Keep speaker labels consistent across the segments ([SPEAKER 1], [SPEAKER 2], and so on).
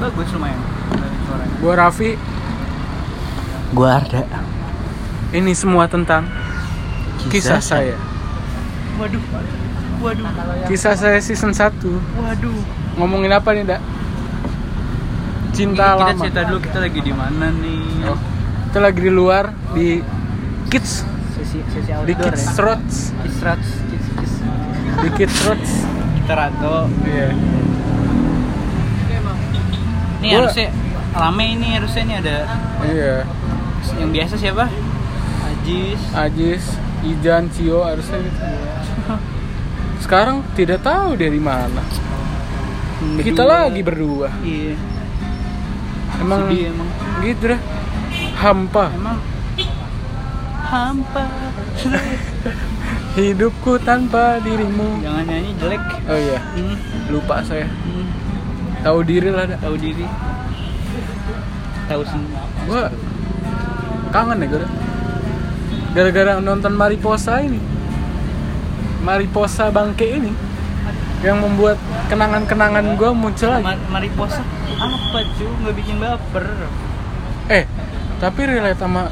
[SPEAKER 1] bagus lumayan dari suaranya
[SPEAKER 2] Gua Raffi,
[SPEAKER 3] Gua Arda.
[SPEAKER 2] ini semua tentang kisah saya.
[SPEAKER 1] waduh waduh
[SPEAKER 2] Kisah saya season 1.
[SPEAKER 1] waduh
[SPEAKER 2] Ngomongin apa nih, Dak? Cinta
[SPEAKER 1] Ini kita
[SPEAKER 2] lama.
[SPEAKER 1] cerita dulu kita lagi di mana nih
[SPEAKER 2] Oh, Kita lagi di luar di Kids,
[SPEAKER 4] sesi sesi
[SPEAKER 2] di
[SPEAKER 4] outdoor
[SPEAKER 2] Kids Roads,
[SPEAKER 4] ya istirahat kids kids
[SPEAKER 2] di Kids Roads.
[SPEAKER 1] kita rato
[SPEAKER 2] Iya.
[SPEAKER 1] ini
[SPEAKER 2] Gua-
[SPEAKER 1] harusnya rame ini harusnya ini ada
[SPEAKER 2] Iya.
[SPEAKER 1] yang biasa siapa Ajis
[SPEAKER 2] Ajis, Ijan, Cio harusnya gitu. Sekarang tidak tahu dari mana. Kita
[SPEAKER 1] Berdua.
[SPEAKER 2] lagi berdua.
[SPEAKER 1] iya
[SPEAKER 2] Emang
[SPEAKER 1] sedih emang
[SPEAKER 2] gitu dah. Hampa.
[SPEAKER 1] emang hampa
[SPEAKER 2] Hidupku tanpa dirimu.
[SPEAKER 1] jangan nyanyi jelek
[SPEAKER 2] Oh iya,
[SPEAKER 1] hmm.
[SPEAKER 2] lupa saya.
[SPEAKER 1] hmm.
[SPEAKER 2] Tahu diri lah, Dak.
[SPEAKER 1] tahu diri tahu sendiri
[SPEAKER 2] Gua kangen ya gara gara-gara nonton Mariposa ini. Mariposa bangke ini yang membuat kenangan-kenangan gua muncul lagi.
[SPEAKER 1] Ma- Mariposa apa cu nggak bikin baper
[SPEAKER 2] Eh, tapi relate sama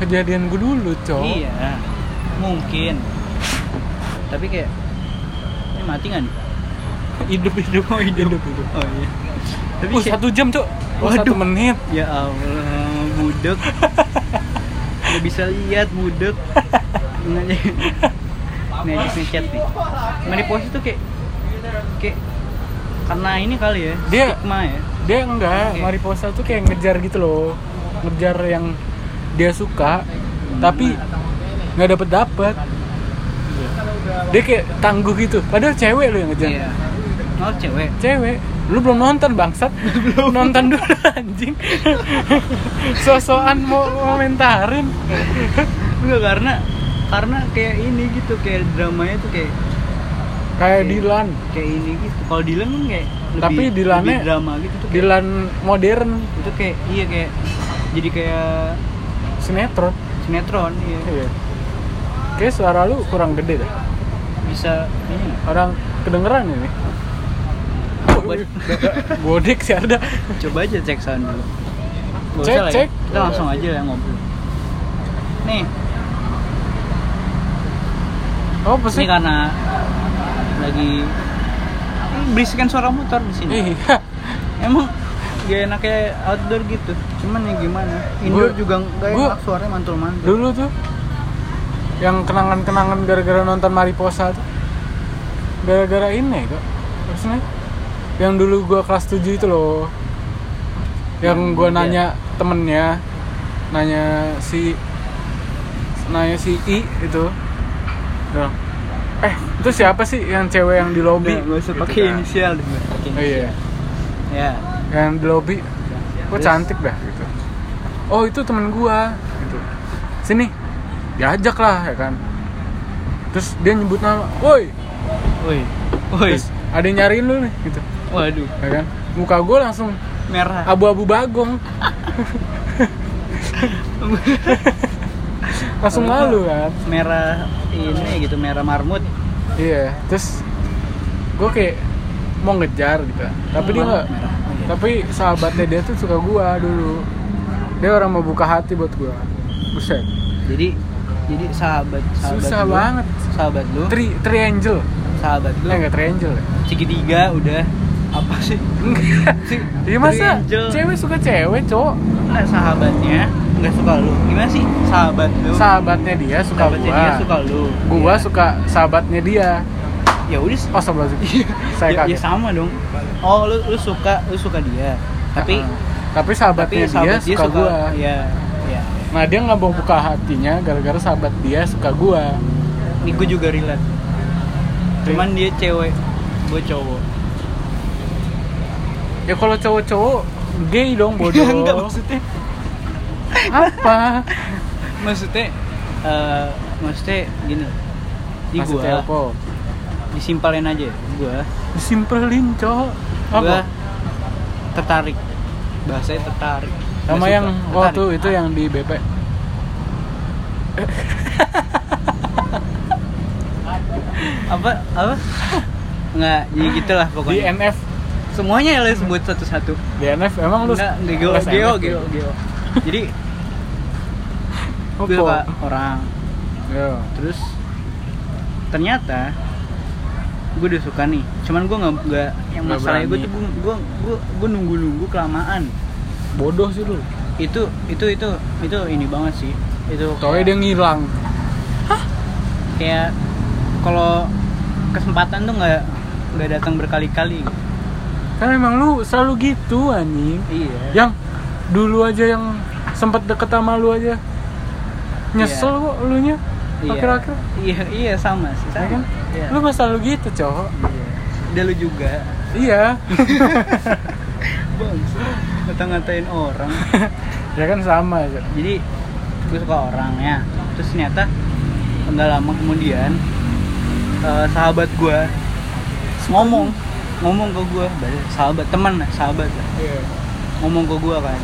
[SPEAKER 2] kejadian gue dulu, cowok.
[SPEAKER 1] iya mungkin tapi kayak ini mati nggak nih
[SPEAKER 2] Hidup hidup oh hidup hidup. hidup.
[SPEAKER 1] oh iya tapi
[SPEAKER 2] Uh,
[SPEAKER 1] kayak,
[SPEAKER 2] satu jam, cok. Oh,
[SPEAKER 1] Waduh.
[SPEAKER 2] satu menit.
[SPEAKER 1] ya allah budek nggak bisa lihat budek Ini aja- ini aja ngechat nih Mariposa tuh kayak kayak karena ini kali ya
[SPEAKER 2] Dia-
[SPEAKER 1] stigma ya
[SPEAKER 2] Dia enggak,
[SPEAKER 1] Oke.
[SPEAKER 2] Mariposa tuh kayak ngejar gitu loh. Ngejar yang dia suka, tapi nggak dapet dapet. Dia kayak tangguh gitu. Padahal cewek lo yang ngejar.
[SPEAKER 1] iya oh cewek
[SPEAKER 2] Cewek. Lu belum nonton bangsat. Belum nonton dulu anjing. Sosokan mau komentarin.
[SPEAKER 1] Enggak karena karena kayak ini gitu kayak dramanya tuh kayak
[SPEAKER 2] Kayak Dilan.
[SPEAKER 1] kayak ini gitu. Kalau Dylan kan kayak lebih,
[SPEAKER 2] Tapi Dylannya-
[SPEAKER 1] lebih drama gitu tuh. Kayak,
[SPEAKER 2] Dilan modern
[SPEAKER 1] itu kayak iya kayak jadi kayak
[SPEAKER 2] sinetron.
[SPEAKER 1] sinetron iya.
[SPEAKER 2] Iya. Oke, suara lu kurang gede dah.
[SPEAKER 1] Bisa ini
[SPEAKER 2] Orang kedengeran ini.
[SPEAKER 1] coba
[SPEAKER 2] Bodek sih ada.
[SPEAKER 1] coba aja cek sound dulu. Nggak usah
[SPEAKER 2] Cek,
[SPEAKER 1] lah ya.
[SPEAKER 2] cek.
[SPEAKER 1] Kita langsung aja ya ngobrol. Nih,
[SPEAKER 2] Oh,
[SPEAKER 1] ini kan
[SPEAKER 2] pasti.
[SPEAKER 1] karena lagi Ini berisikan suara motor di sini.
[SPEAKER 2] Iya.
[SPEAKER 1] Emang gak enaknya outdoor gitu. Cuman ya gimana? Indoor
[SPEAKER 2] Gua-
[SPEAKER 1] juga gak
[SPEAKER 2] gua-
[SPEAKER 1] enak suaranya mantul-mantul.
[SPEAKER 2] Dulu tuh yang kenangan-kenangan gara-gara nonton Mariposa tuh. Gara-gara ini kok. Maksudnya yang dulu gua kelas 7 itu loh. Yang
[SPEAKER 1] Yang
[SPEAKER 2] gua
[SPEAKER 1] dia-
[SPEAKER 2] nanya temennya nanya si nanya si I itu. Bilang, Eh, itu siapa sih yang cewek yang di lobby?
[SPEAKER 1] Nggak, nggak usah
[SPEAKER 2] Gitu
[SPEAKER 1] pakai
[SPEAKER 2] kan.
[SPEAKER 1] inisial deh, Mbak. Pakai
[SPEAKER 2] Oh iya.
[SPEAKER 1] inisial. Ya.
[SPEAKER 2] Yang di lobby kok
[SPEAKER 1] Terus,
[SPEAKER 2] cantik dah gitu oh itu temen gua gitu sini diajak lah ya kan terus dia nyebut nama woi
[SPEAKER 1] Woi. Woi.
[SPEAKER 2] terus ada yang nyariin lu nih gitu
[SPEAKER 1] Waduh,
[SPEAKER 2] ya kan muka gua langsung
[SPEAKER 1] merah.
[SPEAKER 2] abu-abu bagong langsung
[SPEAKER 1] Kalau
[SPEAKER 2] malu kan
[SPEAKER 1] merah ini gitu, merah marmut.
[SPEAKER 2] iya terus gua kayak mau ngejar gitu tapi dia nggak Iya.
[SPEAKER 1] Merah.
[SPEAKER 2] tapi sahabatnya dia tuh suka gua dulu dia orang mau buka hati buat gua buset
[SPEAKER 1] Jadi jadi sahabat sahabat
[SPEAKER 2] Susah
[SPEAKER 1] lu,
[SPEAKER 2] banget.
[SPEAKER 1] Sahabat lu,
[SPEAKER 2] tri tri angel
[SPEAKER 1] sahabat lu.
[SPEAKER 2] eh nggak tri angel ya
[SPEAKER 1] Segitiga udah apa sih? Si,
[SPEAKER 2] Iya masa
[SPEAKER 1] triangle.
[SPEAKER 2] cewek suka cewek, cowok.
[SPEAKER 1] Nah, sahabatnya nggak suka lu. Gimana sih? Sahabat lu.
[SPEAKER 2] Sahabatnya dia suka
[SPEAKER 1] Sahabatnya
[SPEAKER 2] gua.
[SPEAKER 1] dia suka lu.
[SPEAKER 2] Gua
[SPEAKER 1] Iya.
[SPEAKER 2] suka sahabatnya dia.
[SPEAKER 1] Ya udah
[SPEAKER 2] Oh, sebelah sih. Saya
[SPEAKER 1] ya, ya
[SPEAKER 2] kaget.
[SPEAKER 1] sama dong. Oh, lu lu suka lu suka dia. Tapi
[SPEAKER 2] Heeh. tapi sahabatnya
[SPEAKER 1] tapi sahabat
[SPEAKER 2] dia, suka, gua.
[SPEAKER 1] Iya, iya.
[SPEAKER 2] Nah, dia nggak mau buka hatinya gara-gara sahabat dia suka gua.
[SPEAKER 1] Ini gue juga relate. Cuman dia cewek, gue cowok.
[SPEAKER 2] Ya kalau cowok-cowok gay dong bodoh.
[SPEAKER 1] Enggak maksudnya.
[SPEAKER 2] Apa?
[SPEAKER 1] Maksudnya eh maksudnya gini. Di gua
[SPEAKER 2] Maksudnya apa?
[SPEAKER 1] disimpalin aja ya, gua.
[SPEAKER 2] Disimpelin, cowok.
[SPEAKER 1] Gua
[SPEAKER 2] Apa?
[SPEAKER 1] tertarik. Bahasanya tertarik. Gua
[SPEAKER 2] Sama
[SPEAKER 1] suka,
[SPEAKER 2] yang
[SPEAKER 1] tertarik.
[SPEAKER 2] waktu itu ya? yang di BP.
[SPEAKER 1] apa apa? Enggak, jadi gitulah
[SPEAKER 2] Di
[SPEAKER 1] pokoknya.
[SPEAKER 2] NF.
[SPEAKER 1] Semuanya ya lo sebut satu-satu.
[SPEAKER 2] DNF emang lu
[SPEAKER 1] Enggak, enggak, geo,
[SPEAKER 2] les
[SPEAKER 1] geo,
[SPEAKER 2] NF?
[SPEAKER 1] geo, geo. Jadi
[SPEAKER 2] Apa? Oh,
[SPEAKER 1] gue suka orang.
[SPEAKER 2] Yo.
[SPEAKER 1] Terus ternyata gue udah suka nih. Cuman gue nggak nggak yang
[SPEAKER 2] Nggak
[SPEAKER 1] masalahnya gue
[SPEAKER 2] berani.
[SPEAKER 1] tuh gue gue gue, gue nunggu nunggu kelamaan.
[SPEAKER 2] bodoh sih lu
[SPEAKER 1] Itu itu itu itu ini banget sih. Itu
[SPEAKER 2] tau dia ngilang
[SPEAKER 1] kayak kalau kesempatan tuh nggak nggak datang berkali-kali.
[SPEAKER 2] kan emang lu selalu gitu anjing
[SPEAKER 1] Iya.
[SPEAKER 2] yang dulu aja yang sempet deket sama lu aja nyesel
[SPEAKER 1] Iya.
[SPEAKER 2] kok lu nya
[SPEAKER 1] Iya.
[SPEAKER 2] Ya, akhir-akhir
[SPEAKER 1] Iya, iya sama sih.
[SPEAKER 2] ya
[SPEAKER 1] Sama.
[SPEAKER 2] kan
[SPEAKER 1] Iya.
[SPEAKER 2] lu masa lu gitu cowok
[SPEAKER 1] Iya. Udah lu juga
[SPEAKER 2] iya
[SPEAKER 1] Bang, ngata-ngatain orang
[SPEAKER 2] ya kan sama aja
[SPEAKER 1] Jadi gue suka orangnya Terus ternyata nggak lama kemudian eh, Sahabat gue Ngomong Ngomong ke gue Sahabat, teman lah, sahabat lah
[SPEAKER 2] Iya.
[SPEAKER 1] Ngomong ke gue kan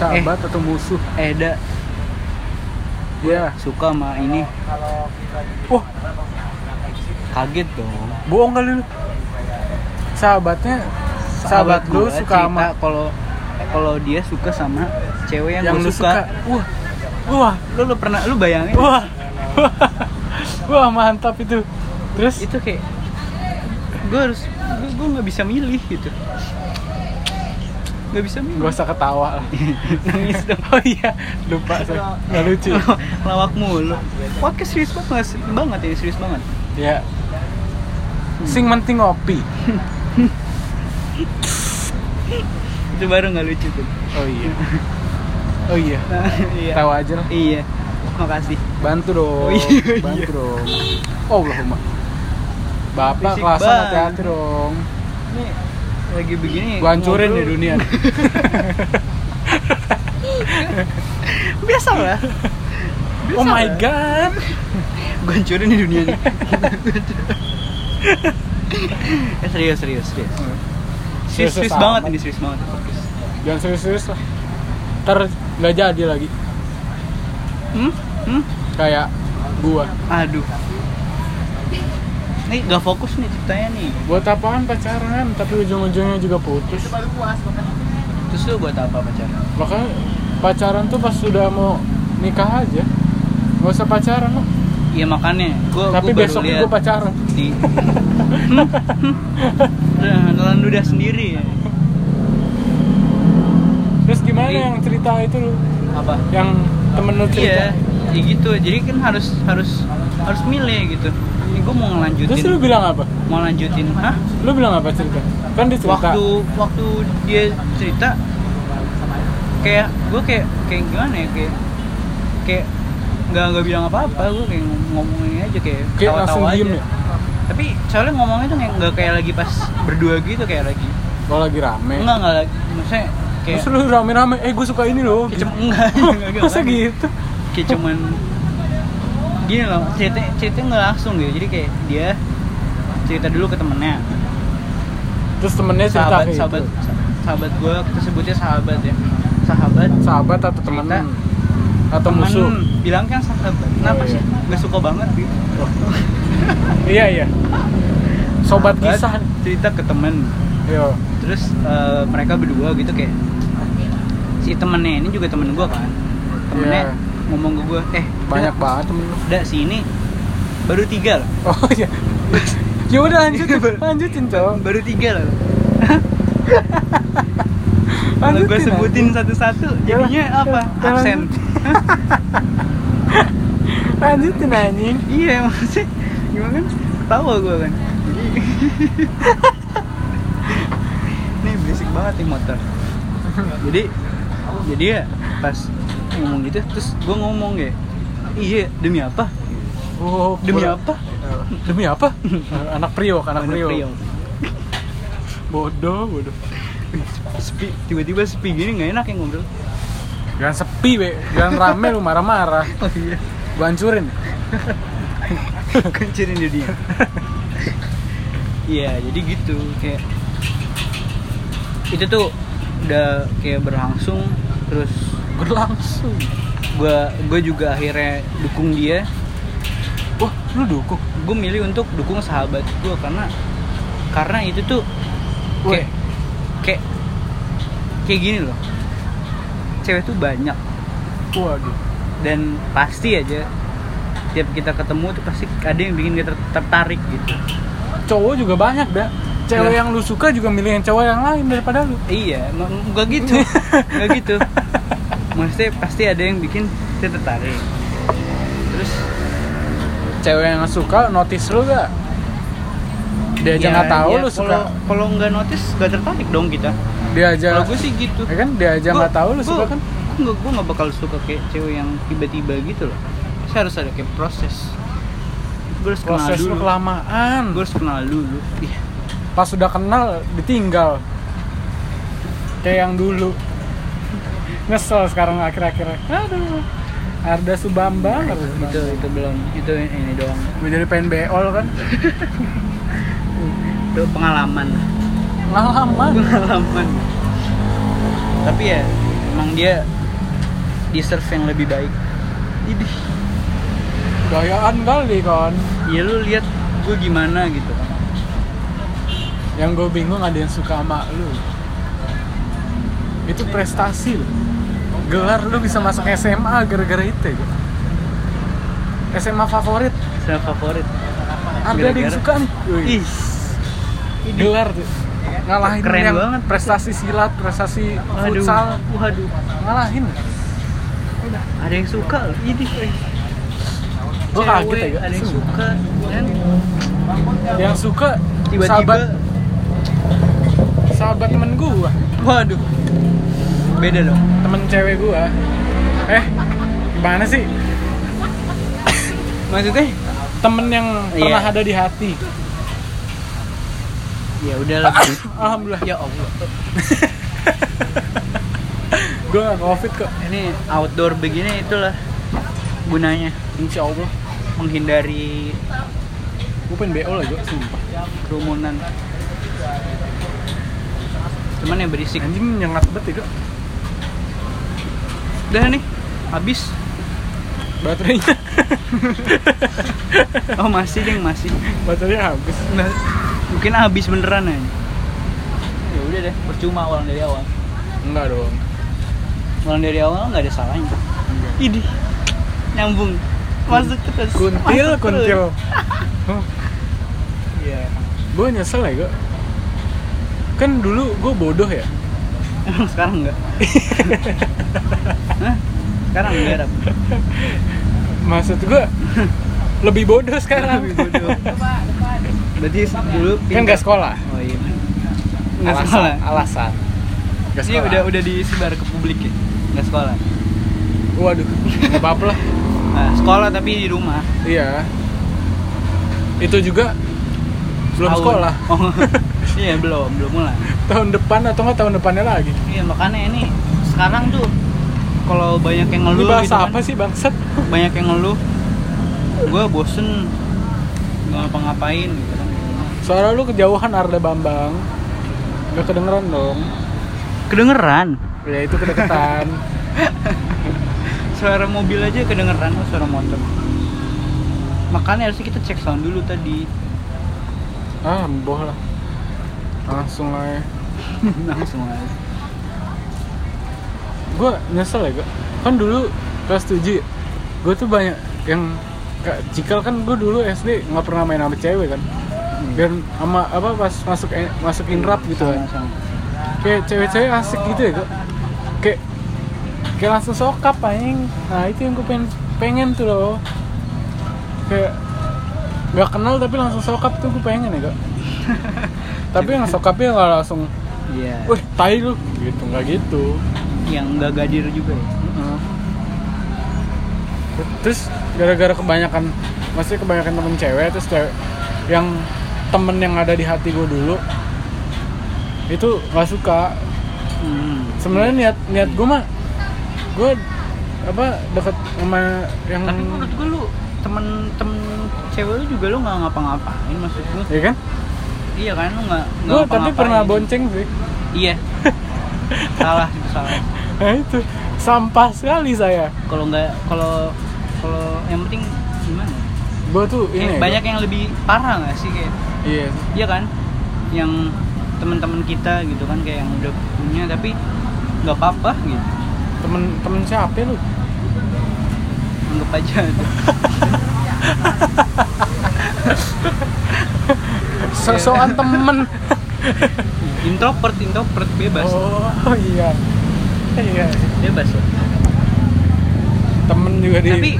[SPEAKER 2] sahabat atau musuh
[SPEAKER 1] Eh, Da,
[SPEAKER 2] iya
[SPEAKER 1] suka sama ini
[SPEAKER 2] wah
[SPEAKER 1] Kaget dong
[SPEAKER 2] bohong kali lu sahabatnya sahabat, lu
[SPEAKER 1] gua
[SPEAKER 2] suka
[SPEAKER 1] cerita
[SPEAKER 2] sama
[SPEAKER 1] kalau kalau dia suka sama cewek yang,
[SPEAKER 2] yang,
[SPEAKER 1] gua
[SPEAKER 2] lu suka. Oh.
[SPEAKER 1] suka.
[SPEAKER 2] wah wah
[SPEAKER 1] Lu lu pernah lu bayangin
[SPEAKER 2] wah wah mantap itu terus
[SPEAKER 1] itu kayak gue harus gue gue nggak bisa milih gitu nggak bisa milih
[SPEAKER 2] gak usah ketawa lah
[SPEAKER 1] nangis dong
[SPEAKER 2] oh iya lupa saya nggak lucu
[SPEAKER 1] lawak mulu podcast serius banget nggak seri- banget ini serius banget
[SPEAKER 2] ya sing penting ngopi
[SPEAKER 1] itu baru nggak lucu tuh
[SPEAKER 2] oh iya oh iya
[SPEAKER 1] Nah, iya
[SPEAKER 2] tawa aja lah
[SPEAKER 1] iya makasih
[SPEAKER 2] bantu dong
[SPEAKER 1] Oh iya,
[SPEAKER 2] bantu dong oh Allahumma bapak
[SPEAKER 1] Berisik
[SPEAKER 2] kelasan
[SPEAKER 1] banget.
[SPEAKER 2] hati-hati dong
[SPEAKER 1] ini lagi begini
[SPEAKER 2] gua hancurin
[SPEAKER 1] ngobrol.
[SPEAKER 2] di dunia
[SPEAKER 1] biasa lah Iya.
[SPEAKER 2] oh my god
[SPEAKER 1] gue hancurin di dunia nih Eh, serius serius serius serius, serius
[SPEAKER 2] amat.
[SPEAKER 1] banget ini serius banget podcast
[SPEAKER 2] jangan serius-serius lah ntar nggak jadi lagi
[SPEAKER 1] hmm hmm
[SPEAKER 2] kayak gua
[SPEAKER 1] Aduh. Nih gak fokus nih ceritanya nih.
[SPEAKER 2] buat apaan pacaran tapi ujung-ujungnya juga putus
[SPEAKER 1] Terus lu buat apa pacaran?
[SPEAKER 2] makanya pacaran tuh pas sudah mau nikah aja nggak usah pacaran loh
[SPEAKER 1] Iya makanya. Gua,
[SPEAKER 2] tapi
[SPEAKER 1] gua
[SPEAKER 2] besok
[SPEAKER 1] baru
[SPEAKER 2] gua pacaran
[SPEAKER 1] di. Hmm? Udah, Nelan ludah Nah, sendiri ya.
[SPEAKER 2] terus gimana
[SPEAKER 1] Jadi-
[SPEAKER 2] yang cerita itu lu
[SPEAKER 1] Apa?
[SPEAKER 2] yang temen lu
[SPEAKER 1] Iya.
[SPEAKER 2] cerita
[SPEAKER 1] Ya gitu. Jadi kan harus harus harus milih gitu. Ini gue mau ngelanjutin.
[SPEAKER 2] terus lu bilang apa
[SPEAKER 1] mau lanjutin. Hah?
[SPEAKER 2] lu bilang apa cerita kan dia cerita
[SPEAKER 1] Waktu waktu dia cerita kayak gue kayak kayak gimana ya kayak kayak nggak nggak bilang apa-apa gue kayak ngomongin aja kayak
[SPEAKER 2] kayak
[SPEAKER 1] tawa-tawa
[SPEAKER 2] langsung
[SPEAKER 1] aja.
[SPEAKER 2] diem ya
[SPEAKER 1] tapi soalnya ngomongnya tuh kayak nggak kayak lagi pas berdua gitu kayak lagi
[SPEAKER 2] kalau lagi rame
[SPEAKER 1] enggak enggak lagi maksudnya kayak
[SPEAKER 2] terus lu rame-rame eh gua suka ini loh
[SPEAKER 1] kayak cuma- enggak enggak gitu.
[SPEAKER 2] masa gitu
[SPEAKER 1] kayak cuman gini loh cerita cerita nggak langsung gitu jadi kayak dia cerita dulu ke temennya
[SPEAKER 2] terus temennya cerita
[SPEAKER 1] sahabat
[SPEAKER 2] kayak gitu.
[SPEAKER 1] sahabat sahabat gue kita sebutnya sahabat ya sahabat
[SPEAKER 2] sahabat atau temen
[SPEAKER 1] Cerita.
[SPEAKER 2] atau
[SPEAKER 1] temen
[SPEAKER 2] musuh
[SPEAKER 1] bilang kan sahabat kenapa
[SPEAKER 2] iya.
[SPEAKER 1] sih nggak suka banget gitu
[SPEAKER 2] iya iya sobat
[SPEAKER 1] Sahabat
[SPEAKER 2] kisah Iya.
[SPEAKER 1] cerita ke temen
[SPEAKER 2] yo
[SPEAKER 1] terus eh, mereka berdua gitu kayak si temennya ini juga temen gue kan temennya
[SPEAKER 2] Iya.
[SPEAKER 1] ngomong ke gue eh
[SPEAKER 2] banyak
[SPEAKER 1] Da,
[SPEAKER 2] banget temen lu
[SPEAKER 1] da si ini baru tiga loh
[SPEAKER 2] oh iya ya udah lanjutin lanjutin cowok
[SPEAKER 1] baru tiga loh kalau
[SPEAKER 2] lanjutin
[SPEAKER 1] gue
[SPEAKER 2] aja.
[SPEAKER 1] sebutin satu-satu
[SPEAKER 2] Ya lah.
[SPEAKER 1] jadinya apa
[SPEAKER 2] Ya lah.
[SPEAKER 1] absen
[SPEAKER 2] lanjutin anjing
[SPEAKER 1] iya maksudnya gimana kan ketawa gue kan Jadi- nih berisik banget nih motor jadi jadi ya pas ngomong gitu terus gue ngomong ya iya demi apa
[SPEAKER 2] oh,
[SPEAKER 1] demi
[SPEAKER 2] bola-
[SPEAKER 1] apa
[SPEAKER 2] Eh, demi apa anak priok anak,
[SPEAKER 1] Anak
[SPEAKER 2] priok.
[SPEAKER 1] Priok.
[SPEAKER 2] bodoh bodoh
[SPEAKER 1] sepi tiba-tiba sepi gini nggak enak ya ngobrol
[SPEAKER 2] jangan sepi be jangan rame lu marah-marah
[SPEAKER 1] oh iya
[SPEAKER 2] gua hancurin
[SPEAKER 1] kencerin jadinya iya jadi gitu kayak itu tuh udah kayak berlangsung terus
[SPEAKER 2] berlangsung
[SPEAKER 1] gua gua juga akhirnya dukung dia
[SPEAKER 2] wah lu dukung
[SPEAKER 1] gue milih untuk dukung sahabat gue karena karena itu tuh
[SPEAKER 2] Weh,
[SPEAKER 1] kayak kayak kayak gini loh cewek tuh banyak
[SPEAKER 2] Waduh.
[SPEAKER 1] dan pasti aja tiap kita ketemu tuh pasti ada yang bikin kita ter- tertarik gitu
[SPEAKER 2] Cowok juga banyak, dah. Cewek
[SPEAKER 1] Ya.
[SPEAKER 2] yang lu suka juga milih yang cowok yang lain daripada lu.
[SPEAKER 1] iya nggak- nggak gitu nggak gitu maksudnya pasti ada yang bikin kita tertarik terus
[SPEAKER 2] Cewek yang suka notice lu gak? Dia aja
[SPEAKER 1] ya-
[SPEAKER 2] nggak tahu
[SPEAKER 1] ya
[SPEAKER 2] lu suka.
[SPEAKER 1] kalau- kalau nggak notice nggak tertarik dong kita
[SPEAKER 2] Dia aja.
[SPEAKER 1] kalau gue sih gitu
[SPEAKER 2] Ya kan dia aja
[SPEAKER 1] Gua-
[SPEAKER 2] nggak tahu lu
[SPEAKER 1] gua-
[SPEAKER 2] suka kan?
[SPEAKER 1] gua nggak gue nggak bakal suka kayak cewek yang tiba-tiba gitu loh saya harus ada kayak proses gue harus kenal
[SPEAKER 2] Proses lu
[SPEAKER 1] dulu
[SPEAKER 2] kelamaan.
[SPEAKER 1] gue harus kenal dulu Ih,
[SPEAKER 2] Pas udah kenal ditinggal. Kayak yang dulu. Ngesel sekarang akhir-akhirnya. Aduh. Arda Subambang. Arda Subambang.
[SPEAKER 1] itu itu belum itu ini doang
[SPEAKER 2] Gue jadi pengen beol kan
[SPEAKER 1] itu pengalaman
[SPEAKER 2] Pengalaman
[SPEAKER 1] pengalaman tapi ya emang dia deserve yang lebih baik Idih.
[SPEAKER 2] Gayaan kali kon
[SPEAKER 1] ya lu lihat gue gimana gitu
[SPEAKER 2] Yang gue bingung ada yang suka sama lu Itu prestasi loh Gelar lu bisa masuk SMA gara-gara itu ya. SMA favorit
[SPEAKER 1] saya favorit
[SPEAKER 2] Ada ada yang
[SPEAKER 1] Gara-gara.
[SPEAKER 2] suka nih. Wih,
[SPEAKER 1] ih
[SPEAKER 2] Gelar tuh Ngalahin
[SPEAKER 1] Keren
[SPEAKER 2] yang
[SPEAKER 1] banget.
[SPEAKER 2] prestasi silat, prestasi
[SPEAKER 1] waduh
[SPEAKER 2] futsal
[SPEAKER 1] waduh
[SPEAKER 2] Ngalahin
[SPEAKER 1] ada yang suka loh. idih eh.
[SPEAKER 2] Gue kaget
[SPEAKER 1] Cewek,
[SPEAKER 2] ya
[SPEAKER 1] ada yang suka kan
[SPEAKER 2] Yang suka
[SPEAKER 1] tiba-tiba
[SPEAKER 2] sahabat, sahabat temen gue
[SPEAKER 1] waduh beda dong
[SPEAKER 2] temen cewek gua eh gimana sih
[SPEAKER 1] maksudnya
[SPEAKER 2] temen yang pernah
[SPEAKER 1] Iya.
[SPEAKER 2] ada di hati
[SPEAKER 1] ya udahlah
[SPEAKER 2] alhamdulillah
[SPEAKER 1] ya allah
[SPEAKER 2] gua gak covid kok
[SPEAKER 1] ini outdoor begini itulah gunanya
[SPEAKER 2] insya allah
[SPEAKER 1] menghindari
[SPEAKER 2] gua pengen bo lah gua sumpah
[SPEAKER 1] kerumunan cuman yang berisik
[SPEAKER 2] anjing nyengat banget ya gua
[SPEAKER 1] udah nih habis
[SPEAKER 2] baterainya
[SPEAKER 1] oh masih ding masih
[SPEAKER 2] baterainya habis
[SPEAKER 1] Nggak, mungkin habis beneran aja ya udah deh percuma ulang dari awal
[SPEAKER 2] enggak dong
[SPEAKER 1] ulang dari awal nggak ada salahnya idih nyambung masuk terus
[SPEAKER 2] kuntil
[SPEAKER 1] masuk terus.
[SPEAKER 2] kuntil
[SPEAKER 1] Iya.
[SPEAKER 2] gua nyesel ya gua kan dulu gua bodoh ya
[SPEAKER 1] Emang sekarang enggak? Hah? Sekarang enggak Rap?
[SPEAKER 2] maksud gua lebih bodoh sekarang
[SPEAKER 1] Lebih bodoh. Berarti dulu
[SPEAKER 2] kan
[SPEAKER 1] pinter.
[SPEAKER 2] gak sekolah
[SPEAKER 1] Oh iya. Enggak sekolah.
[SPEAKER 2] alasan Nggak
[SPEAKER 1] Ini udah udah disebar ke publik ya. Enggak sekolah.
[SPEAKER 2] waduh nggak apa-apa lah
[SPEAKER 1] Nah, sekolah tapi di rumah.
[SPEAKER 2] Iya. Itu juga belum
[SPEAKER 1] Tahun.
[SPEAKER 2] sekolah.
[SPEAKER 1] Oh. iya, belum, belum mulai.
[SPEAKER 2] Tahun depan atau nggak tahun depannya lagi.
[SPEAKER 1] Iya, makanya ini sekarang tuh kalau banyak yang
[SPEAKER 2] Lu
[SPEAKER 1] ngeluh
[SPEAKER 2] bahasa
[SPEAKER 1] gitu kan,
[SPEAKER 2] apa sih bangsat?
[SPEAKER 1] banyak yang ngeluh gue bosen nggak ngapa-ngapain gitu kan
[SPEAKER 2] Suara lu kejauhan Arda Bambang. Gak kedengeran dong.
[SPEAKER 1] kedengeran
[SPEAKER 2] Ya itu kedekatan.
[SPEAKER 1] suara mobil aja kedengeran kok suara motor makanya harusnya kita cek sound dulu tadi
[SPEAKER 2] ah, boh lah. Langsung lah.
[SPEAKER 1] langsung aja
[SPEAKER 2] Gue nyesel ya, gua. kan dulu kelas 7 gue tuh banyak yang Kak Cikal kan gue dulu SD nggak pernah main sama cewek kan dan sama apa pas masuk E, masuk inrap gitu kan
[SPEAKER 1] Sama-sama.
[SPEAKER 2] kayak cewek-cewek asik gitu ya kok kayak kayak langsung sokap anjing nah itu yang gue pengen pengen tuh loh kayak nggak kenal tapi langsung sokap tuh gue pengen ya kok tapi yang sokapnya nggak langsung
[SPEAKER 1] iya
[SPEAKER 2] wah tai lu gitu nggak gitu
[SPEAKER 1] yang nggak gadir juga ya
[SPEAKER 2] Heeh. terus gara-gara kebanyakan maksudnya kebanyakan temen cewek terus cewek yang temen yang ada di hati gue dulu itu nggak suka
[SPEAKER 1] hmm.
[SPEAKER 2] sebenarnya niat niat gue mah gue apa deket sama yang
[SPEAKER 1] tapi menurut gue lu temen temen cewek lu juga lu nggak ngapa-ngapain maksud gue
[SPEAKER 2] ya kan
[SPEAKER 1] iya kan lu nggak nggak
[SPEAKER 2] gue tapi
[SPEAKER 1] ngapa-ngapain.
[SPEAKER 2] pernah bonceng sih
[SPEAKER 1] iya salah itu salah
[SPEAKER 2] nah itu sampah sekali saya
[SPEAKER 1] kalau nggak kalau kalau yang penting gimana ya?
[SPEAKER 2] gue tuh ini iya,
[SPEAKER 1] Kayak
[SPEAKER 2] ya,
[SPEAKER 1] banyak
[SPEAKER 2] gua.
[SPEAKER 1] yang lebih parah nggak sih kayak
[SPEAKER 2] iya
[SPEAKER 1] iya kan yang teman-teman kita gitu kan kayak yang udah punya tapi nggak apa-apa gitu
[SPEAKER 2] temen temen siapa lu
[SPEAKER 1] Iya. anggap aja itu
[SPEAKER 2] sosokan temen
[SPEAKER 1] introvert introvert bebas
[SPEAKER 2] oh iya iya
[SPEAKER 1] bebas lah
[SPEAKER 2] temen juga di
[SPEAKER 1] tapi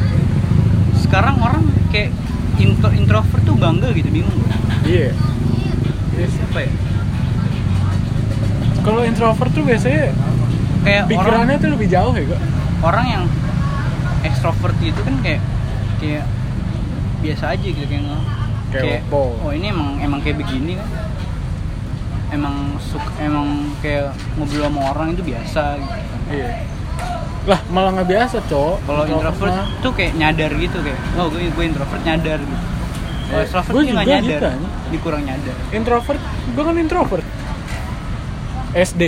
[SPEAKER 1] sekarang orang kayak intro introvert tuh bangga gitu bingung gua.
[SPEAKER 2] iya
[SPEAKER 1] apa ya
[SPEAKER 2] kalau introvert tuh biasanya
[SPEAKER 1] kayak orang
[SPEAKER 2] pikirannya tuh lebih jauh ya kok
[SPEAKER 1] orang yang ekstrovert itu kan kayak kayak biasa aja gitu kayak nge-
[SPEAKER 2] Kayak opo.
[SPEAKER 1] oh ini emang emang kayak begini kan emang suk emang kayak ngobrol sama orang itu biasa gitu.
[SPEAKER 2] iya lah malah nggak biasa cok
[SPEAKER 1] kalau introvert
[SPEAKER 2] mah.
[SPEAKER 1] tuh kayak nyadar gitu kayak oh gue gue introvert nyadar gitu kalau
[SPEAKER 2] Eh,
[SPEAKER 1] extrovert
[SPEAKER 2] gue
[SPEAKER 1] dia nggak
[SPEAKER 2] juga
[SPEAKER 1] nyadar
[SPEAKER 2] gitu,
[SPEAKER 1] dikurang
[SPEAKER 2] anjing.
[SPEAKER 1] kurang nyadar
[SPEAKER 2] introvert gue kan introvert SD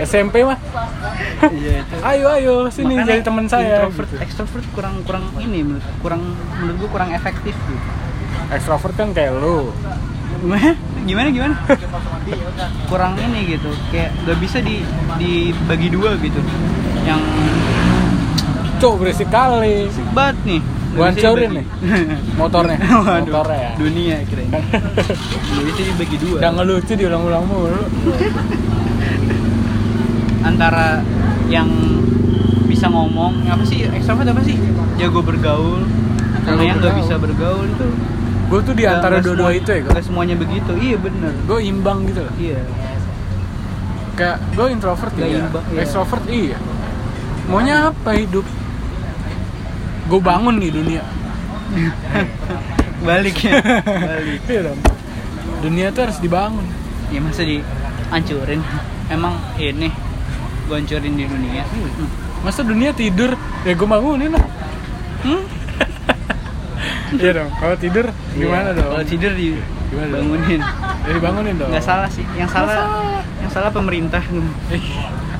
[SPEAKER 2] SMP mah
[SPEAKER 1] iya itu
[SPEAKER 2] ayo ayo sini
[SPEAKER 1] Makanya
[SPEAKER 2] jadi teman saya
[SPEAKER 1] introvert
[SPEAKER 2] gitu.
[SPEAKER 1] extrovert kurang kurang ini menurut kurang menurut gue kurang efektif gitu
[SPEAKER 2] extrovert kan kayak lu
[SPEAKER 1] gimana gimana gimana kurang ini gitu kayak nggak bisa di dibagi dua gitu yang
[SPEAKER 2] cok berisik kali
[SPEAKER 1] sebat nih nggak
[SPEAKER 2] Gua
[SPEAKER 1] bisa
[SPEAKER 2] hancurin
[SPEAKER 1] dibagi.
[SPEAKER 2] nih. motornya
[SPEAKER 1] Waduh,
[SPEAKER 2] motornya ya
[SPEAKER 1] dunia keren nggak bisa dibagi dua
[SPEAKER 2] udah ngelucu diulang-ulang mulu
[SPEAKER 1] antara yang bisa ngomong apa sih ekstrovert apa sih jago bergaul sama
[SPEAKER 2] Jago
[SPEAKER 1] yang nggak
[SPEAKER 2] bergaul.
[SPEAKER 1] bisa bergaul itu
[SPEAKER 2] gue tuh di antara dua-dua itu ya
[SPEAKER 1] nggak semuanya begitu iya bener
[SPEAKER 2] gue imbang gitu loh
[SPEAKER 1] iya
[SPEAKER 2] kayak gue introvert
[SPEAKER 1] Gak
[SPEAKER 2] iya
[SPEAKER 1] imbang, iya.
[SPEAKER 2] extrovert iya maunya apa hidup gue bangun di dunia
[SPEAKER 1] balik ya balik
[SPEAKER 2] Iya dong. dunia tuh harus dibangun
[SPEAKER 1] ya masa dihancurin emang ini gue hancurin di dunia Hmm.
[SPEAKER 2] masa dunia tidur ya gue bangunin lah
[SPEAKER 1] Hmm?
[SPEAKER 2] iya dong kalau tidur gimana
[SPEAKER 1] Iya,
[SPEAKER 2] dong
[SPEAKER 1] kalau tidur di
[SPEAKER 2] Gimana dong?
[SPEAKER 1] bangunin
[SPEAKER 2] ya dibangunin dong
[SPEAKER 1] nggak salah sih yang salah yang salah pemerintah
[SPEAKER 2] Ih,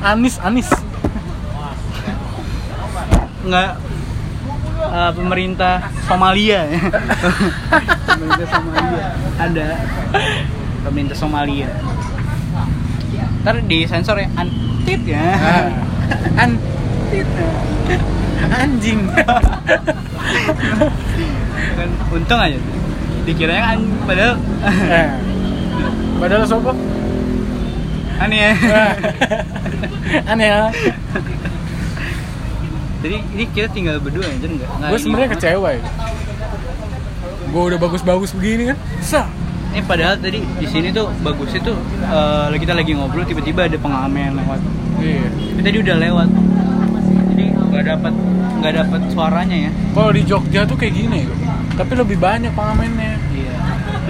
[SPEAKER 2] anis anis
[SPEAKER 1] nggak eh, pemerintah Somalia ya pemerintah Somalia ada pemerintah Somalia ntar di sensor ya antit ya
[SPEAKER 2] Ah. an anjing
[SPEAKER 1] kan untung aja dikiranya kan padahal
[SPEAKER 2] Eh, padahal sopo
[SPEAKER 1] aneh ya
[SPEAKER 2] Ah. aneh ya
[SPEAKER 1] jadi ini kita tinggal berdua ya jadi nggak nggak
[SPEAKER 2] gue
[SPEAKER 1] ini
[SPEAKER 2] sebenarnya
[SPEAKER 1] banget.
[SPEAKER 2] kecewa ya gue udah bagus-bagus begini kan sah
[SPEAKER 1] Eh padahal tadi di sini tuh bagusnya tuh eh, kita lagi ngobrol tiba-tiba ada pengamen lewat.
[SPEAKER 2] iya
[SPEAKER 1] Tapi tadi udah lewat. Jadi nggak dapat nggak dapat suaranya ya.
[SPEAKER 2] kalau di Jogja tuh kayak gini ya. tapi lebih banyak pengamennya
[SPEAKER 1] Iya.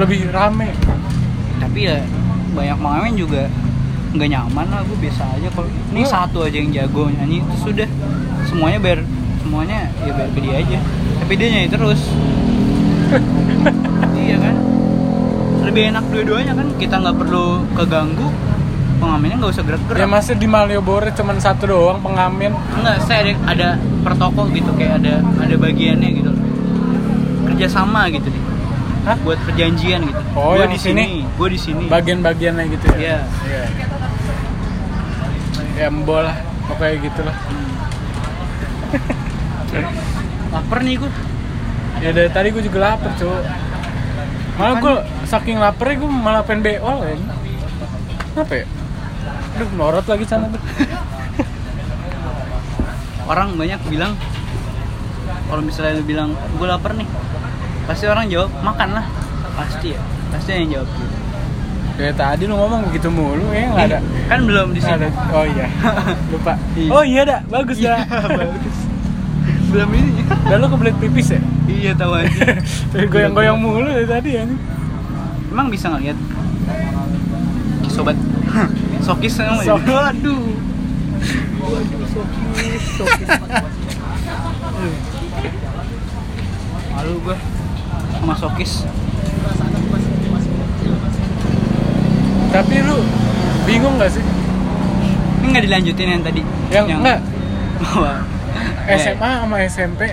[SPEAKER 2] lebih rame
[SPEAKER 1] Tapi ya banyak pengamen juga nggak nyaman lah gue biasa aja kalau ini
[SPEAKER 2] Gua-
[SPEAKER 1] satu aja yang jago nyanyi terus sudah semuanya biar semuanya ya biar ke dia aja tapi dia nyanyi terus iya kan lebih enak dua-duanya kan kita nggak perlu keganggu pengamennya nggak usah gerak-gerak
[SPEAKER 2] ya masih di Malioboro cuman satu doang pengamen
[SPEAKER 1] Enggak, saya ada, ada per toko gitu kayak ada ada bagiannya gitu. loh. Kerjasama gitu nih.
[SPEAKER 2] Hah?
[SPEAKER 1] Buat perjanjian gitu.
[SPEAKER 2] Oh,
[SPEAKER 1] gua
[SPEAKER 2] yang
[SPEAKER 1] di sini,
[SPEAKER 2] sini?
[SPEAKER 1] gua di sini.
[SPEAKER 2] bagian-bagiannya gitu ya
[SPEAKER 1] Iya.
[SPEAKER 2] Iya. Ya embol lah, pokoknya gitu lah.
[SPEAKER 1] Laper nih gua.
[SPEAKER 2] Ya dari tadi gue juga lapar, cuy. Malah gue saking laparnya gue malah pengen beol ya. Kenapa ya? Aduh, melorot lagi sana tuh.
[SPEAKER 1] Orang banyak bilang kalau misalnya lu bilang gua lapar nih. Pasti orang jawab makan lah. Pasti ya. Pasti ada yang jawab gitu.
[SPEAKER 2] Dari tadi lu ngomong begitu mulu ya, nggak ada.
[SPEAKER 1] Ih, Kan belum di
[SPEAKER 2] nggak
[SPEAKER 1] sini.
[SPEAKER 2] ada. Oh iya, lupa.
[SPEAKER 1] Iya.
[SPEAKER 2] Oh iya dah, bagus dah.
[SPEAKER 1] bagus. belum ini.
[SPEAKER 2] Dan lu kebelet pipis ya?
[SPEAKER 1] iya tahu aja.
[SPEAKER 2] Dari Goyang-goyang mulu dari tadi ya. nih.
[SPEAKER 1] Emang bisa ngeliat sobat sokis emang ya?
[SPEAKER 2] Sok.
[SPEAKER 1] Waduh. Waduh, sokis, sokis. Aduh. Malu gue sama sokis.
[SPEAKER 2] Tapi lu bingung gak sih?
[SPEAKER 1] Ini nggak dilanjutin yang tadi.
[SPEAKER 2] Yang, enggak
[SPEAKER 1] bahwa eh,
[SPEAKER 2] SMA sama SMP.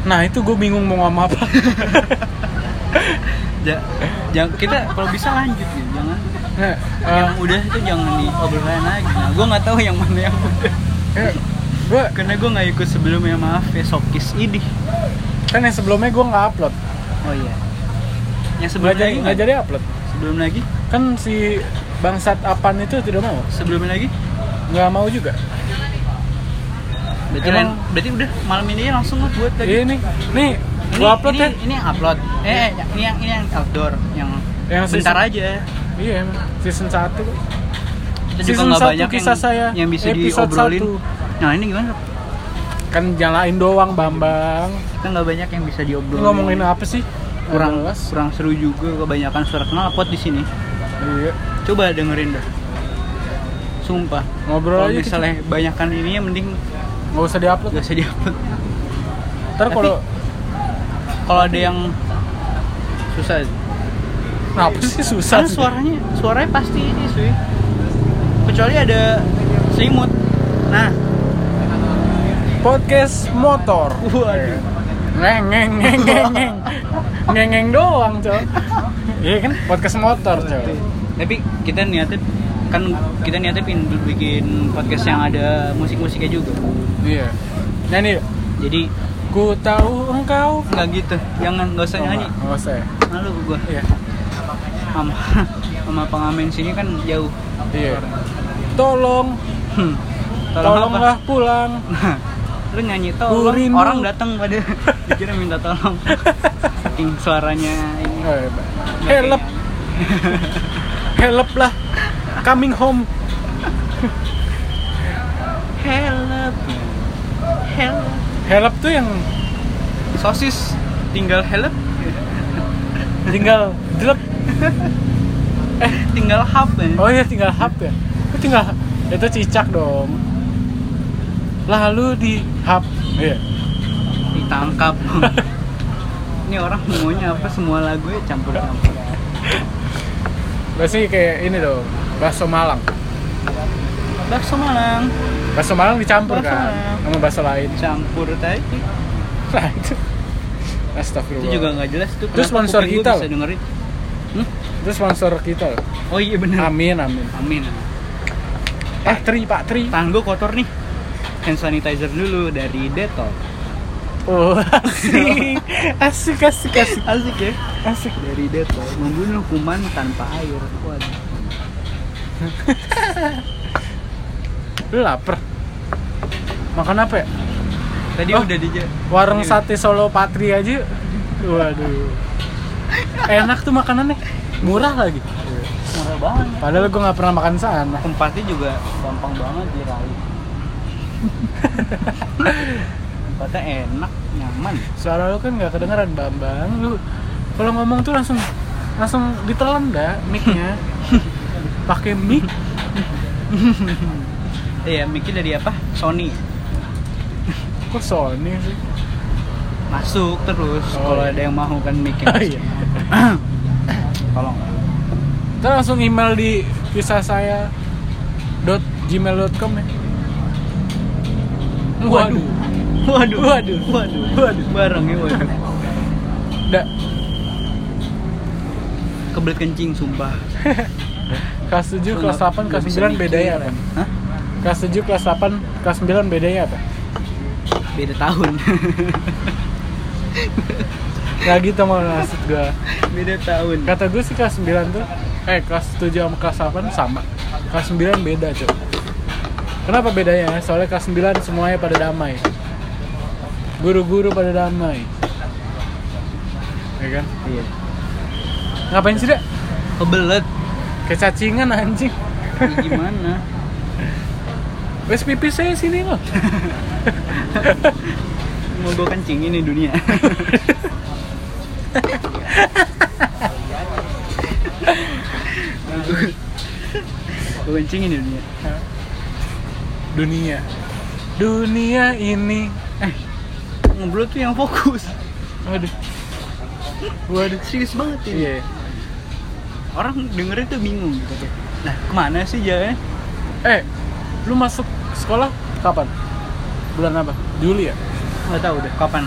[SPEAKER 2] Nah itu gue bingung mau ngomong apa.
[SPEAKER 1] Ja- jangan kita kalau bisa lanjut ya, jangan
[SPEAKER 2] Nah,
[SPEAKER 1] yang udah itu jangan diobrolin lagi. Nah, gue nggak tahu yang mana yang udah.
[SPEAKER 2] eh, gue
[SPEAKER 1] Karena gue nggak ikut sebelumnya maaf ya sokis idih.
[SPEAKER 2] kan yang sebelumnya gue nggak upload
[SPEAKER 1] Oh iya. Yang sebelum
[SPEAKER 2] nggak jadi
[SPEAKER 1] lagi
[SPEAKER 2] nggak
[SPEAKER 1] nggak?
[SPEAKER 2] jadi upload
[SPEAKER 1] Sebelum lagi?
[SPEAKER 2] kan si bangsat apan itu tidak mau
[SPEAKER 1] Sebelum lagi?
[SPEAKER 2] nggak mau juga
[SPEAKER 1] Berarti,
[SPEAKER 2] Emang-
[SPEAKER 1] lain- berarti udah malam ini aja langsung lah buat lagi.
[SPEAKER 2] ini nih gue Iya. upload
[SPEAKER 1] ini,
[SPEAKER 2] ya
[SPEAKER 1] ini yang upload. Eh, eh, ini yang ini yang outdoor yang,
[SPEAKER 2] Yang
[SPEAKER 1] bentar
[SPEAKER 2] season-
[SPEAKER 1] aja.
[SPEAKER 2] iya emang. season 1
[SPEAKER 1] Kita
[SPEAKER 2] Season
[SPEAKER 1] juga nggak
[SPEAKER 2] satu
[SPEAKER 1] banyak
[SPEAKER 2] kisah
[SPEAKER 1] yang,
[SPEAKER 2] saya,
[SPEAKER 1] yang bisa
[SPEAKER 2] episode
[SPEAKER 1] diobrolin.
[SPEAKER 2] satu.
[SPEAKER 1] Nah, ini gimana?
[SPEAKER 2] kan nyalain doang bambang
[SPEAKER 1] Kita nggak banyak yang bisa
[SPEAKER 2] Lu
[SPEAKER 1] diobrolin.
[SPEAKER 2] ngomongin apa sih
[SPEAKER 1] kurang
[SPEAKER 2] Nggak jelas.
[SPEAKER 1] kurang seru juga kebanyakan suara kenal pot di sini.
[SPEAKER 2] iya
[SPEAKER 1] Coba dengerin dah. Sumpah.
[SPEAKER 2] ngobrol
[SPEAKER 1] Kalau
[SPEAKER 2] aja kita.
[SPEAKER 1] misalnya banyakan ininya mending
[SPEAKER 2] nggak usah diupload
[SPEAKER 1] nggak usah diupload.
[SPEAKER 2] ntar
[SPEAKER 1] Tapi-
[SPEAKER 2] kalau
[SPEAKER 1] Kalau ada yang susah
[SPEAKER 2] kenapa sih susah
[SPEAKER 1] Karena
[SPEAKER 2] sih?
[SPEAKER 1] suaranya, suaranya pasti ini sih. Kecuali ada selimut. Nah,
[SPEAKER 2] podcast motor
[SPEAKER 1] waduh.
[SPEAKER 2] ngeng ngeng ngeng ngeng ngeng ngeng ngeng doang cok iya kan podcast motor cok
[SPEAKER 1] Tapi kita niatnya kan kita niatnya pin bikin podcast yang ada musik-musiknya juga.
[SPEAKER 2] iya nyanyi yuk.
[SPEAKER 1] Jadi
[SPEAKER 2] ku tahu engkau
[SPEAKER 1] nggak gitu. Jangan nggak usah nyanyi.
[SPEAKER 2] nggak usah ya
[SPEAKER 1] Malu gua.
[SPEAKER 2] iya
[SPEAKER 1] Sama sama pengamen sini kan jauh.
[SPEAKER 2] iya tolong
[SPEAKER 1] Hmm.
[SPEAKER 2] tolonglah
[SPEAKER 1] apa?
[SPEAKER 2] pulang
[SPEAKER 1] Nah, lu nyanyi tolong
[SPEAKER 2] Kurindu.
[SPEAKER 1] orang datang pada dikira minta tolong. Saking suaranya ini.
[SPEAKER 2] Eh, help help lah coming home
[SPEAKER 1] Help. Help.
[SPEAKER 2] help tuh yang
[SPEAKER 1] Sosis tinggal help,
[SPEAKER 2] tinggal jelek
[SPEAKER 1] Eh, tinggal hub. ya.
[SPEAKER 2] Oh iya tinggal hap ya. Kok tinggal itu cicak dong. Lalu di hap. Iya.
[SPEAKER 1] Ditangkap. Ini orang maunya apa semua lagu ya campur-campur.
[SPEAKER 2] Berarti kayak ini dong. Bakso Malang.
[SPEAKER 1] Bakso Malang
[SPEAKER 2] Bakso Malang dicampur
[SPEAKER 1] Bakso
[SPEAKER 2] kan
[SPEAKER 1] Malang.
[SPEAKER 2] sama bakso lain.
[SPEAKER 1] campur tadi.
[SPEAKER 2] Nah, itu.
[SPEAKER 1] Itu
[SPEAKER 2] Astagfirullah.
[SPEAKER 1] juga nggak jelas tuh.
[SPEAKER 2] Terus
[SPEAKER 1] kenapa
[SPEAKER 2] sponsor
[SPEAKER 1] kuping gua
[SPEAKER 2] kita
[SPEAKER 1] bisa
[SPEAKER 2] loh.
[SPEAKER 1] dengerin.
[SPEAKER 2] Itu sponsor kita. loh.
[SPEAKER 1] Oh iya benar.
[SPEAKER 2] Amin amin.
[SPEAKER 1] Amin.
[SPEAKER 2] Eh Tri Pak Tri.
[SPEAKER 1] Tangan gua kotor nih. Hand sanitizer dulu dari Dettol.
[SPEAKER 2] Oh asik asik asik asik.
[SPEAKER 1] Asik ya.
[SPEAKER 2] asik.
[SPEAKER 1] Dari Dettol membunuh kuman tanpa air. Waduh.
[SPEAKER 2] Lu lapar. Makan apa ya?
[SPEAKER 1] Tadi
[SPEAKER 2] Oh.
[SPEAKER 1] udah di
[SPEAKER 2] Warung
[SPEAKER 1] Iya.
[SPEAKER 2] sate Solo Patri aja. Waduh. Enak tuh makanannya. Murah lagi.
[SPEAKER 1] murah banget.
[SPEAKER 2] Padahal gue nggak pernah makan sana.
[SPEAKER 1] Tempatnya juga gampang banget diraih. Tempatnya enak, nyaman.
[SPEAKER 2] Suara lu kan nggak kedengeran Bambang. Lu kalau ngomong tuh langsung langsung ditelan dah mic-nya. Pakai mic.
[SPEAKER 1] Iya, Miki dari apa? Sony.
[SPEAKER 2] Kok Sony sih?
[SPEAKER 1] Masuk terus
[SPEAKER 2] Oh,
[SPEAKER 1] kalau
[SPEAKER 2] iya.
[SPEAKER 1] ada yang mau kan Miki.
[SPEAKER 2] Oh, iya.
[SPEAKER 1] Tolong.
[SPEAKER 2] Terus langsung email di kisah saya dot gmail.com ya. Waduh.
[SPEAKER 1] Waduh.
[SPEAKER 2] Waduh.
[SPEAKER 1] Waduh. Waduh. Bareng ya, waduh.
[SPEAKER 2] Da,
[SPEAKER 1] Kebelet kencing sumpah.
[SPEAKER 2] kelas 7,
[SPEAKER 1] Lu
[SPEAKER 2] kelas
[SPEAKER 1] nggak-
[SPEAKER 2] 8,
[SPEAKER 1] nggak
[SPEAKER 2] kelas
[SPEAKER 1] bisa
[SPEAKER 2] 9
[SPEAKER 1] mikir.
[SPEAKER 2] bedanya apa?
[SPEAKER 1] Hah?
[SPEAKER 2] Kelas 7, kelas 8, kelas ya, 9 bedanya apa?
[SPEAKER 1] Beda tahun.
[SPEAKER 2] Gak gitu mau maksud gue
[SPEAKER 1] Beda tahun.
[SPEAKER 2] Kata gue sih kelas 9 tuh Eh kelas 7 sama kelas 8 sama Kelas 9 beda cuy Kenapa bedanya? Soalnya kelas 9 semuanya pada damai Guru-guru pada damai Ya kan?
[SPEAKER 1] Iya.
[SPEAKER 2] Ngapain sih dek?
[SPEAKER 1] Kebelet.
[SPEAKER 2] Kayak cacingan anjing
[SPEAKER 1] Ya, gimana?
[SPEAKER 2] Wes pipis saya sini loh
[SPEAKER 1] Mau gue kencing ini dunia. gue kencing ini dunia.
[SPEAKER 2] Dunia Dunia ini
[SPEAKER 1] Ngobrol tuh yang fokus.
[SPEAKER 2] Waduh Waduh
[SPEAKER 1] Serius banget ini.
[SPEAKER 2] Iya
[SPEAKER 1] Orang dengerin tuh bingung gitu. kayak, Nah, kemana sih jalannya?
[SPEAKER 2] Eh Lu masuk sekolah kapan? Bulan apa? Juli ya?
[SPEAKER 1] Gak tahu deh kapan.